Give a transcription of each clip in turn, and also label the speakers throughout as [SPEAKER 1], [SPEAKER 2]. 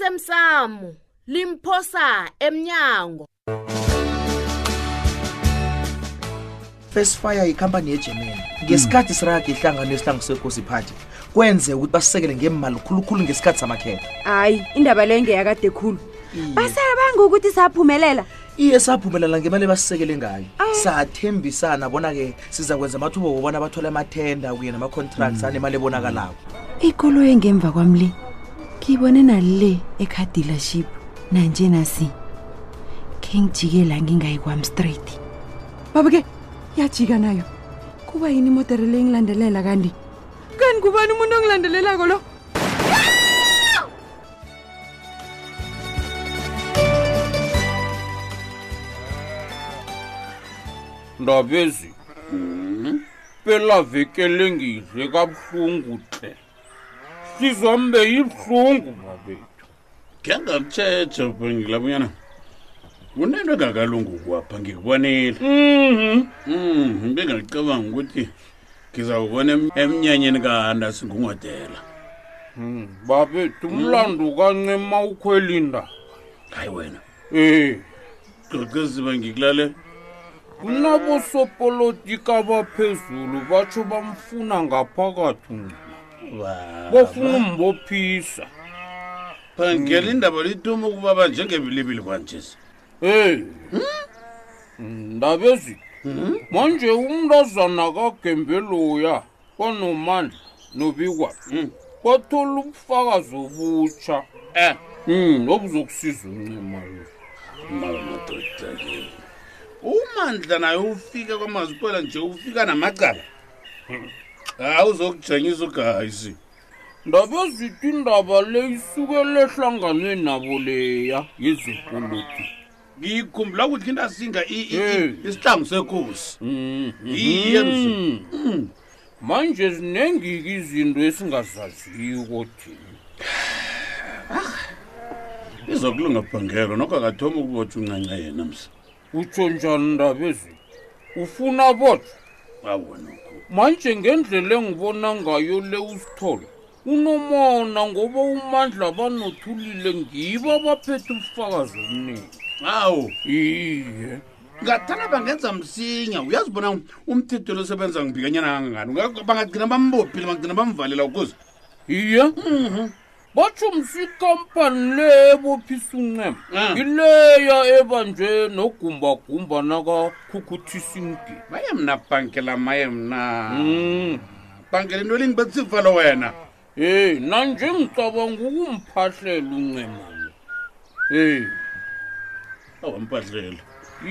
[SPEAKER 1] osemsamo limphosa emnyango
[SPEAKER 2] first fire yikhampani yegermany ngesikhathi sirage ihlangano yesihlangu sekosi party kwenzeka ukuthi basisekele ngemali khulukhulu ngesikhathi samakhetha
[SPEAKER 3] hayi indaba leyo ngeyakade khulu basebanga ukuthi saphumelela
[SPEAKER 2] iye saphumelela ngemali ebasisekele ngayo sathembisana bona-ke siza kwenza amathuba wobona bathole amathenda kuye nama-contracts
[SPEAKER 4] Mm.
[SPEAKER 2] anemali ebonakalako
[SPEAKER 5] ikoloyi engemva kwami le ngiyibone nale ecar dealership nanje nasi khe ngijike la ngingayi kwami straight
[SPEAKER 3] baba ke yajika nayo kuba yini imodere le ngilandelela kanti kanti kubani umuntu ongilandelelako lo
[SPEAKER 6] ndabezi phela vekele ngidle kabuhlungu hle sizwambe yibuhlungu babethu
[SPEAKER 7] ngiyangamtshetha ubhengila bunyana kunento engakalungi ukwapha ngikubonile Mhm, bengicabanga ukuthi ngizawubona em- emnyanyeni kahandasi ngungodela
[SPEAKER 6] babethu umlando kancema ukhwelinda
[SPEAKER 7] hayi wena
[SPEAKER 6] eh
[SPEAKER 7] qoqeziba ngikulale
[SPEAKER 6] kunabosopolitika baphezulu batsho bamfuna ngaphakathi ncema bofuna umbophisa
[SPEAKER 7] phangela indaba lituma ukubaba njengebilibili kwanjesi
[SPEAKER 6] Eh. Ndabezi. Manje umntazana kagembelo ya kwanomandla nobikwa. Kwathola ubufakazi obutsha. Eh. Mm, obuzokusiza uncema lo.
[SPEAKER 7] mawe madoda ke umandla naye ufike kwamazipola nje ufika namacala awuzokujanyisa ugayisi
[SPEAKER 6] Ndabezi indaba le isukele ehlanganweni nabo leya yezepolitiki.
[SPEAKER 7] ngiyikhumbula ukuthi into asinga i- i-
[SPEAKER 6] Eh.
[SPEAKER 7] i- isihlangu sekhosi
[SPEAKER 6] Mm.
[SPEAKER 7] Iye, mzi.
[SPEAKER 6] Mm. Manje zinengike izinto esingazaziyo thina.
[SPEAKER 7] izokulunga bhangelo nokho akathoma ukubotha uncanca yena msa
[SPEAKER 6] utsho njani ndabezi ufuna bodwa
[SPEAKER 7] awonokho
[SPEAKER 6] manje ngendlela engibona ngayo le usithole unomona ngoba umandla banothulile ngibo abaphethe ubufakazi obuningi
[SPEAKER 7] awu
[SPEAKER 6] iye
[SPEAKER 7] ngathana bangenza msinya uyazibona umthetho losebenza ngibikanyana kangangani Unga- bangagcina bambophile bangagcina bamvalela ukuze
[SPEAKER 6] iye batsho msi ikampani le ebophisa uncema
[SPEAKER 7] Ah.
[SPEAKER 6] ileya ebanje nogumbagumba nakakhukhuthisa imgini
[SPEAKER 7] maye mna bhankela maye mna
[SPEAKER 6] mm.
[SPEAKER 7] bhankela into lingibetsivalo wena
[SPEAKER 6] Hey, nanje ngicabanga ukumphahlela uncema lo. Hey,
[SPEAKER 7] awampahlele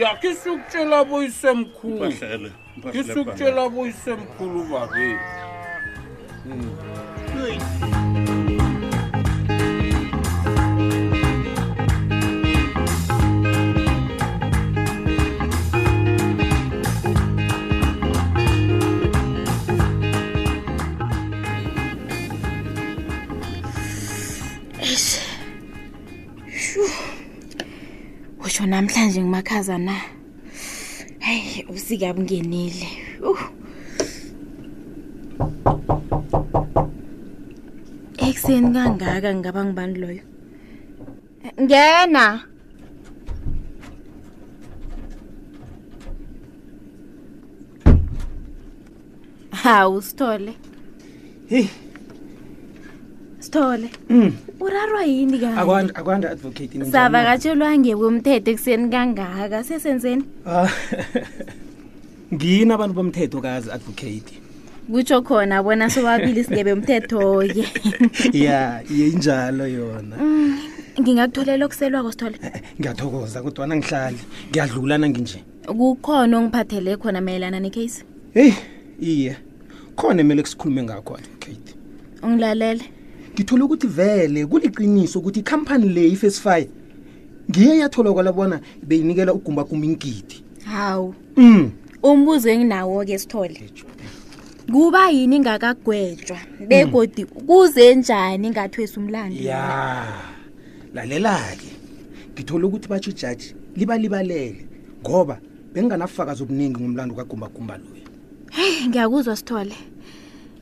[SPEAKER 6] yakhe sukutshela boyisemkhulu.
[SPEAKER 7] mpahlele
[SPEAKER 6] Kisukutshela boyisemkhulu babe.
[SPEAKER 8] usho namhlanje ngimakhaza na hayi usika bungenile uh. ekuseni kangaka ngingaba ngibani loyo ngena hawu sithole
[SPEAKER 4] heyi
[SPEAKER 8] sithole urarwa yini kani
[SPEAKER 4] akwanda akwanda Ah. advocate ninjani?
[SPEAKER 8] savakatshelwa ngekomthetho ekuseni kangaka sesenzeni
[SPEAKER 4] Ah, ngini abantu bomthetho kazi advocate
[SPEAKER 8] kutsho khona bona sobabili singebe mthetho-ke
[SPEAKER 4] ya iye injalo yona
[SPEAKER 8] ngingakutholela okuselwako sithole
[SPEAKER 4] Eh, ngiyathokoza kodwana ngihlali ngiyadlula nanginje
[SPEAKER 8] kukhona ongiphathele khona mayelana necase
[SPEAKER 4] heyi iye khona emele kusikhulume ngakho advocate
[SPEAKER 8] ungilalele
[SPEAKER 4] ngithole ukuthi vele kuliqiniso ukuthi ikhampani le ifesify ngiye yatholakala bona beyinikela ugumbagumba ingidi
[SPEAKER 8] hawu
[SPEAKER 4] um
[SPEAKER 8] umbuzo enginawo-ke sithole kuba yini ngakagwetshwa begodi kuze njani ngathwesa umlando
[SPEAKER 4] ya lalela-ke ngithole ukuthi batsho ijaji libalibalele ngoba benginganafakazi obuningi ngomlando kagumbagumba loyo
[SPEAKER 8] heyi ngiyakuzwa sithole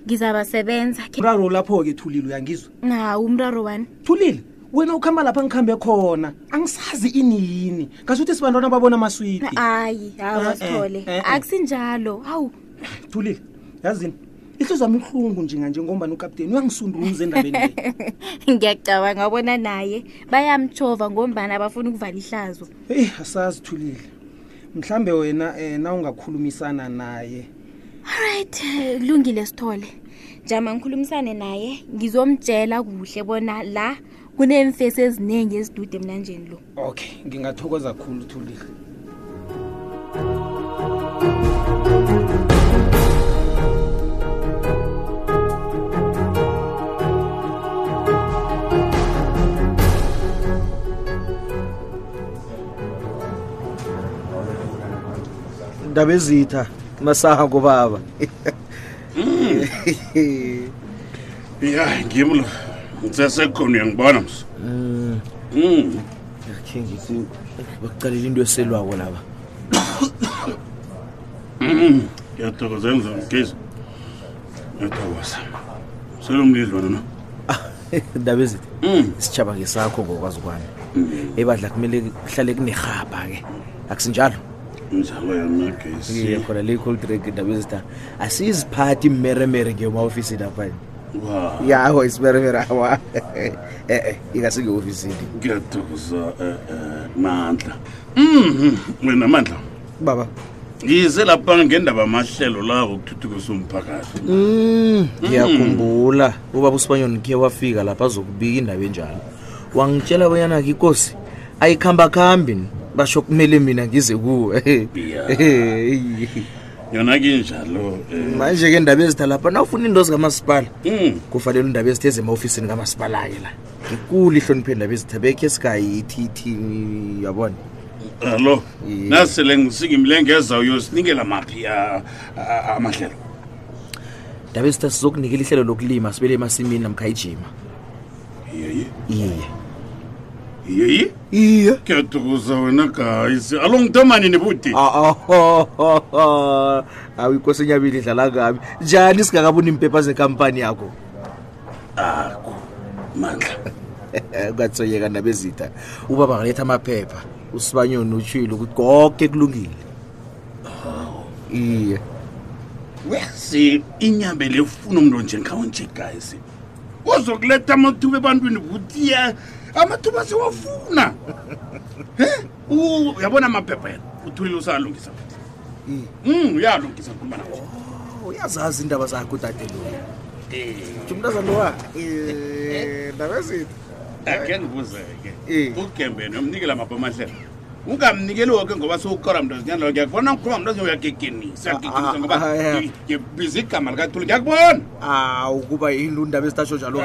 [SPEAKER 8] ngizabasebenza
[SPEAKER 4] uraro lapho-ke thulile uyangizwa
[SPEAKER 8] naw umraro wani
[SPEAKER 4] thulile wena ukuhamba lapha ngikhambe khona angisazi iniyini ngasuthi sibantwana babona amaswidi
[SPEAKER 8] hayi
[SPEAKER 4] Eh, eh,
[SPEAKER 8] hawa sithole
[SPEAKER 4] eh, eh.
[SPEAKER 8] akusinjalo hawu
[SPEAKER 4] thulile yazini ihliziyo yami ihlungu njenganje ngombani ukapteni uyangisunduluza endabeni le
[SPEAKER 8] ngiyacabanga abona naye bayamtshova ngombani abafuna ukuvala ihlazo
[SPEAKER 4] eyi asazi thulile mhlambe wena um na ungakhulumisana naye
[SPEAKER 8] right eh, kulungile sithole jama ngikhulumisane naye ngizomtshela kuhle bona la kuneemfesi eziningi ezidude emnanjeni lo
[SPEAKER 4] okay ngingathokoza khulu thulile
[SPEAKER 2] indaba ezitha masaha kobaba
[SPEAKER 7] ya ngim lo ngisesekhona uyangibona ms um
[SPEAKER 2] akhe ngithi bakucalela into eselwako laba
[SPEAKER 7] ngiyathokoza emzana gezi ngiyathokoza selomlidlwana no
[SPEAKER 2] Ah, indaba ezitha
[SPEAKER 7] um
[SPEAKER 2] isitshaba ngesakho ngokwazi kwami ebadla kumele kuhlale kunerhapha-ke akusinjalo
[SPEAKER 7] injalo yami yagezi
[SPEAKER 2] Iye, khona le cold drink indaba ezitha asiyiziphathi imeremere ngeyoma-ofisini aphani
[SPEAKER 7] wa
[SPEAKER 2] yawo isimeremere awa e-e ingasingeofisini
[SPEAKER 7] ngiyathokoza
[SPEAKER 2] euh,
[SPEAKER 7] um mandla um wena mandla
[SPEAKER 4] baba
[SPEAKER 7] ngize lapha ngendaba amahlelo lako okuthuthukisa umphakathi
[SPEAKER 2] Mm, ngiyakhumbula ubaba usibanyoni khe wafika lapha azokubika indaba enjalo wangitshela bonyana-ke ikosi ayikhambakhambi basho kumele mina ngize kuwe
[SPEAKER 7] Ya.
[SPEAKER 2] Hey.
[SPEAKER 7] yona kinjalo um
[SPEAKER 2] manje-ke indaba ezitha lapha nawufuna iinto zikamasipala
[SPEAKER 7] um
[SPEAKER 2] kufanele indaba ezithe zema-ofisini kamasipala-ke la ikulu ihloniphe indaba ezitha bekhe singayithi yabona
[SPEAKER 7] alo
[SPEAKER 2] Iye.
[SPEAKER 7] nasele ngisika imilengeza uyosinikela maphi ah, ah, amahlelo
[SPEAKER 2] indaba ezitha sizokunikela ihlelo lokulima sibele emasimini namkhayijima
[SPEAKER 7] yeyi
[SPEAKER 2] iye
[SPEAKER 7] yeyi
[SPEAKER 2] iye
[SPEAKER 7] kuyathokoza wena guys alo ngitomanini buti
[SPEAKER 2] Ah. ahohoho ah, awu ikosi enyabili idlala kabi njani singakaboni impepha zekampani yakho
[SPEAKER 7] akho mandla
[SPEAKER 2] katsoyeka nabezitha ubaba ngaletha amaphepha usibanyoni utshile ukuthi konke kulungile iye
[SPEAKER 7] wesi inyambe le funa umntu njengkhawo nje guys ozokuletha amathuba ebantwini buti ya amathuba sewafuna Eh, uyabona amaphepha yena uthulile usalungisa um uyalungisa nkuluma nawo
[SPEAKER 2] uyazazi iindaba zakho udade loyo umntazalowa ndabezitha
[SPEAKER 7] ake ndibuze-ke
[SPEAKER 2] Eh.
[SPEAKER 7] ugembeni umnikela mapha amahlelo ungamnikeli woke ngoba sowukora mntu zinyana lo ngiyakubona ngikhuba mntu uyagegenisa uyagegenisa ngoba
[SPEAKER 2] ah, ah.
[SPEAKER 7] ngi- ngibiza igama likathuli ngiyakubona
[SPEAKER 2] awu kuba yini indaba ezitasho njalo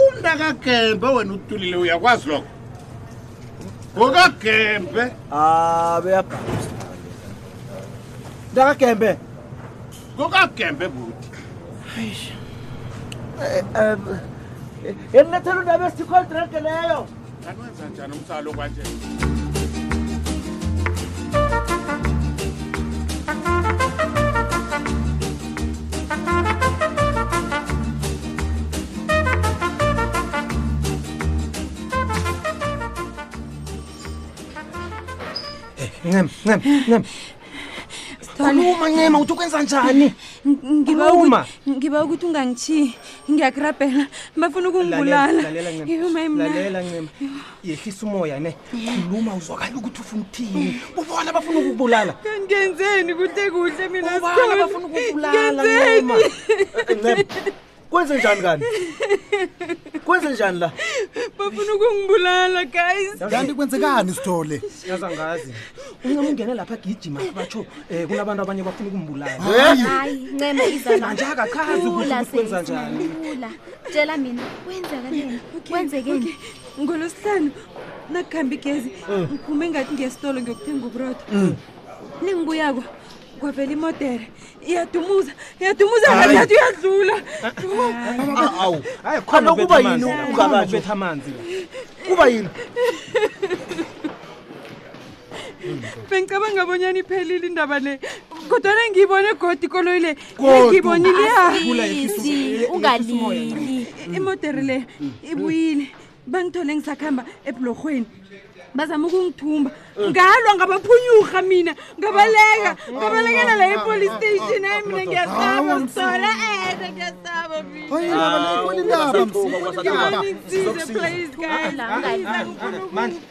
[SPEAKER 7] umntu akagembe wena utulile uyakwazi lokho ngokagembe
[SPEAKER 2] abeyabhalisa ndakagembe
[SPEAKER 7] ngokagembe buti
[SPEAKER 2] elinethela indaba esithikoldrake leyo
[SPEAKER 7] anwenza njani umsalo kwanje
[SPEAKER 4] ncema ncema ncema khuluma ncema uthi ukwenza njani
[SPEAKER 3] Ngiba
[SPEAKER 4] Khuluma.
[SPEAKER 3] ukuthi ngiba ukuthi ungangichiyi. Ngiyakurabhela. Bafuna ukungibulala.
[SPEAKER 4] Lalela, lalela,
[SPEAKER 3] Iyo,
[SPEAKER 4] Ncema.
[SPEAKER 3] maye mina.
[SPEAKER 4] lalela ncema yehlisa umoya ne khuluma uzwakale ukuthi ufuna ukuthini ubona bafuna ukukubulala
[SPEAKER 3] Ngenzeni kuhle kuhle mina
[SPEAKER 4] ubana
[SPEAKER 3] Sithole?
[SPEAKER 4] bafuna ukukubulala Eh,
[SPEAKER 3] Ngenzeni?
[SPEAKER 4] ncema
[SPEAKER 2] kwenze njani kani kwenze njani la
[SPEAKER 3] Bafuna ukungibulala guys.
[SPEAKER 9] kanti kwenzekani sithole
[SPEAKER 4] yaza ngazi uncema ungene lapha agijima batsho um kunabantu abanye bafuna ukumbulala
[SPEAKER 8] hayi ncema
[SPEAKER 4] Manje akakazi ukuthi ukwenza njani.
[SPEAKER 8] lula tshela mina kwenzeka njani kwenzekeni
[SPEAKER 3] Ngolosihlanu nakuhamba igezi ngiphume ngathi ngesitolo ngiyokuthenga uburodo. Ningibuyako kwavela imodere iyadumuza iyadumuza kanti uyadlula.
[SPEAKER 2] Ah, awu
[SPEAKER 4] hayi
[SPEAKER 2] Khona kuba
[SPEAKER 4] ubetha amanzi
[SPEAKER 2] yini
[SPEAKER 4] la.
[SPEAKER 2] ungakatsho?
[SPEAKER 4] Khona ubetha amanzi la.
[SPEAKER 2] kuba yini
[SPEAKER 3] Bengicabanga abonyana iphelile indaba le. Kodwa ngiyibone godi ikoloyi le.
[SPEAKER 9] Godu.
[SPEAKER 3] Ngiyibonile ya.
[SPEAKER 8] Asizi, ungalili
[SPEAKER 9] Mm.
[SPEAKER 3] imodere le ibuyile bangithole ngisakuhamba ebhulorhweni bazama ukungithumba
[SPEAKER 9] Eh.
[SPEAKER 3] ngalwa ngabaphunyurha mina
[SPEAKER 9] Ah,
[SPEAKER 3] ngabaleka ngabalekela la epolice station hayi mina Eh, ngiyasaba
[SPEAKER 9] ah,
[SPEAKER 3] mthola ene ngiyasaba
[SPEAKER 9] ah,
[SPEAKER 3] minanisize please
[SPEAKER 9] ah,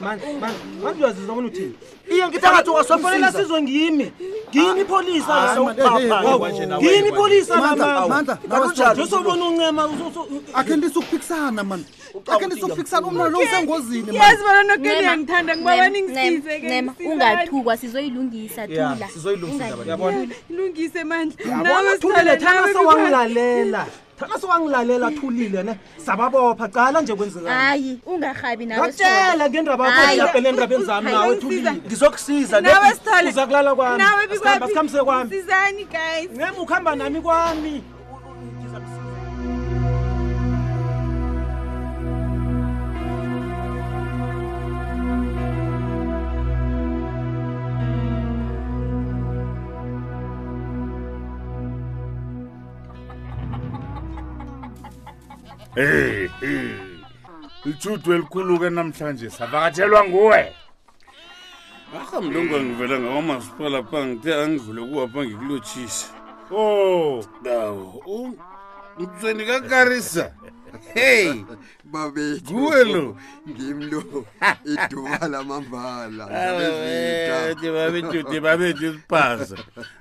[SPEAKER 9] mandlazizwa bona uthini
[SPEAKER 2] iye ngithi angathuka
[SPEAKER 9] sofanele asizwe ngimi ngimi ipholisa ngimi ipholisa njosobona uncema
[SPEAKER 10] akhe ndisukuphikisana mani akhe ndisukuphikisana umna lo usengozini man.
[SPEAKER 3] yazi bona nokeni yangithanda ngibaba ningisize ke
[SPEAKER 8] ncema
[SPEAKER 3] ngisizani.
[SPEAKER 8] ungathukwa sizoyilungisa thula
[SPEAKER 3] lungise mandla
[SPEAKER 9] yabona thulile thana sewangilalela thana sewangilalela thulile ne sababopha cala nje kwenzeka
[SPEAKER 8] hayi ungarhabi nawe Sithole.
[SPEAKER 9] ngakutshela ngendaba yakho
[SPEAKER 8] Hayi.
[SPEAKER 9] yaphela endabeni zami
[SPEAKER 3] Hayi,
[SPEAKER 9] nawe
[SPEAKER 3] ungisiza.
[SPEAKER 9] thulile ngizokusiza
[SPEAKER 3] Nawe Sithole.
[SPEAKER 9] uza kulala kwami
[SPEAKER 3] nawe
[SPEAKER 9] Asikhamba, asikhambise kwami
[SPEAKER 3] sizani guys
[SPEAKER 9] ncema ukuhamba nami kwami
[SPEAKER 7] Hey, hey. Ithuthu elikhulu ke namhlanje savakatshelwa nguwe. Akha mlungu ngivela ngakwamasipala pha ngithe angidlule kuwapha ngikulochisa. Oh, dawo. Ngitsweni kakarisa. Hey,
[SPEAKER 10] babethu
[SPEAKER 7] Nguwe lo.
[SPEAKER 10] ngimlo iduba lamambala
[SPEAKER 7] Ah, Eh,
[SPEAKER 10] zabezitha.
[SPEAKER 7] babethi uthi babethi isiphaza.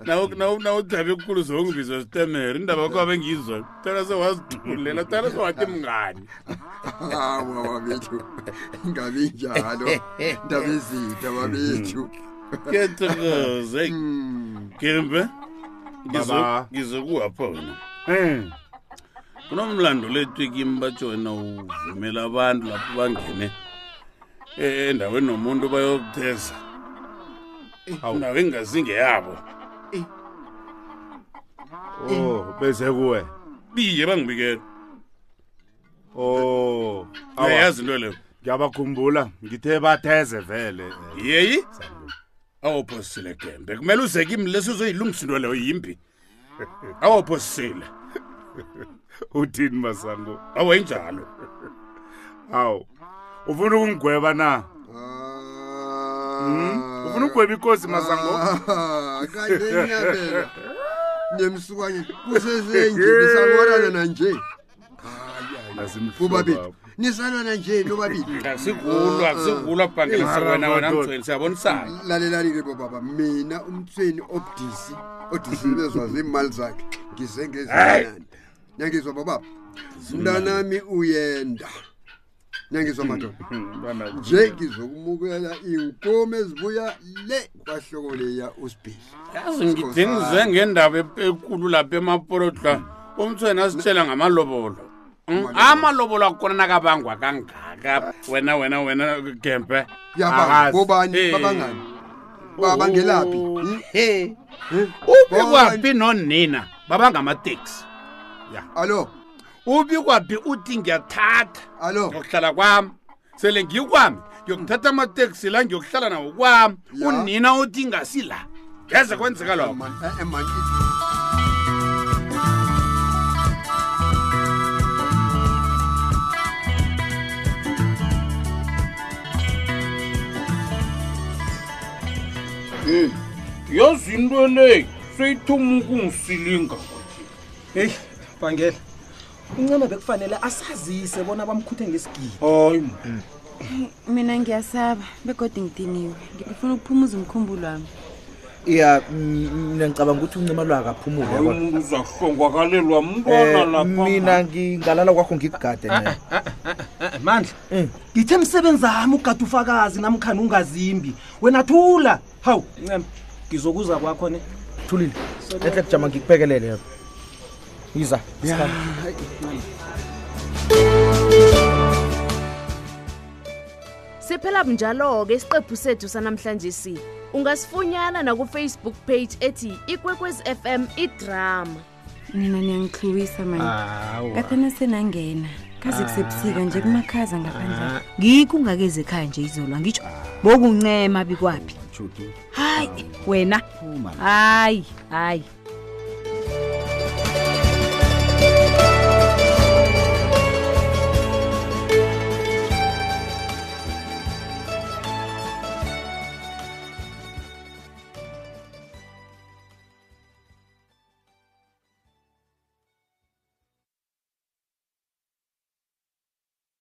[SPEAKER 7] Nawu nawu nawu dabe enkulu zongibiza sitemere indaba yakho abengizwa. Thana sewazidulela, thana sewathi mngani.
[SPEAKER 10] hawa babethu ngabe njalo ndaba ezitha babethu
[SPEAKER 7] Kethokoze. hey.
[SPEAKER 11] Hmm.
[SPEAKER 7] Kembe. Ngizo
[SPEAKER 10] Baba.
[SPEAKER 7] ngizokuwapha wena. Eh. Kunomlando lethu kimi batsho wena uvumela abantu lapho bangene. Eh endaweni nomuntu bayokutheza.
[SPEAKER 11] Eh.
[SPEAKER 7] Hawu. Nawe ingazinge yabo. Eh.
[SPEAKER 11] Oh, bese kuwe.
[SPEAKER 7] Biye bangibikela.
[SPEAKER 11] Oh, awa,
[SPEAKER 7] Uyayazi into leyo.
[SPEAKER 11] ngiyabakhumbula. Ngithe batheze vele.
[SPEAKER 7] Yeyi. Awuphosile Gembe. Kumele uze kimi leso uzoyilungisa into leyo yimbi. Awuphosile.
[SPEAKER 11] Uthini masango?
[SPEAKER 7] Awayinjalo.
[SPEAKER 11] Aw. Ufuna ukungweba na? Hmm?
[SPEAKER 10] Ah.
[SPEAKER 11] Ufuna ukugweba inkosi masango?
[SPEAKER 10] Ah, kanje nyabela nemsukanye kusezenje nisalwana nanje bobabethu nisalwana nje
[SPEAKER 6] Mm.
[SPEAKER 10] nobabili Ah,
[SPEAKER 7] Asikulwa, asikulwa
[SPEAKER 10] eh,
[SPEAKER 7] bhangela
[SPEAKER 11] Mara,
[SPEAKER 7] wena wena
[SPEAKER 11] madoda.
[SPEAKER 7] mthweni siyabonisana.
[SPEAKER 10] lalelani-ke bobaba mina umthweni obudisi odisibezwa ziimali zakhe ngize ngezinani nyangizwa bobaba mntanami uyenda nyangizwa madoda nje ngizokumukela iinkomo ezibuya le kwahloko leya usibhizi
[SPEAKER 7] yazi ngidingize ngendaba e- ekulu lapha emaporotla umthweni asitshela ngamalobolo Mm, amalobolo akhona nakabangwa kangaka wena wena wena gembe
[SPEAKER 10] yaba
[SPEAKER 7] Akazi.
[SPEAKER 10] bobani
[SPEAKER 7] Eh.
[SPEAKER 10] babangani babangelaphi
[SPEAKER 6] Oh.
[SPEAKER 10] Hmm?
[SPEAKER 7] He.
[SPEAKER 10] Hmm?
[SPEAKER 7] ubi
[SPEAKER 10] Bobani?
[SPEAKER 7] kwaphi nonina babangamateksi
[SPEAKER 10] allo
[SPEAKER 7] ubi kwaphi uthi ngiyathatha
[SPEAKER 10] allo
[SPEAKER 7] ngiyokuhlala kwami sele ngikwami ngiyokuthatha amateksi la ngiyokuhlala nawo kwami
[SPEAKER 10] Ya.
[SPEAKER 7] unina uthi ngasi la ngeze kwenzeka lokho
[SPEAKER 10] Man- eh, eh, man, it-
[SPEAKER 6] yazi into le seyithoma ukungisilinga
[SPEAKER 4] heyi bangela uncema bekufanele asazise bona bamkhuthe ngesigidi
[SPEAKER 6] hayi ma
[SPEAKER 5] mina ngiyasaba begodwa ngidiniwe ngifuna ukuphumuza umkhumbulo wami
[SPEAKER 2] ya m- mina ngicabanga ukuthi uncima lwaka aphumule
[SPEAKER 6] hayi
[SPEAKER 2] yabona.
[SPEAKER 6] umuntu uzahlongakalelwa mntwana
[SPEAKER 2] Eh,
[SPEAKER 6] lapha
[SPEAKER 2] mina ngingalala kwakho ngikugade naye
[SPEAKER 9] mandla
[SPEAKER 2] Mm.
[SPEAKER 9] ngithe msebenzami ugada ufakazi namkhani ungazimbi wena thula hawu ncema ngizokuza kwakho ne
[SPEAKER 2] thulile ehle kujama ngikuphekelele yabo yiza isikhathi
[SPEAKER 1] siphela bunjalo-ke isiqephu sethu sanamhlanje si ungasifunyana nakufacebook page ethi ikwekwezi fm idrama
[SPEAKER 5] nina niyangixhiwisa
[SPEAKER 2] Ah.
[SPEAKER 5] mani kathana senangena kaze kusebusika nje kumakhaza ngaphandle
[SPEAKER 12] ngikho ungakeze ekhaya nje izolwa ngitsho bokuncema bikwaphi hayi wena hayi hayi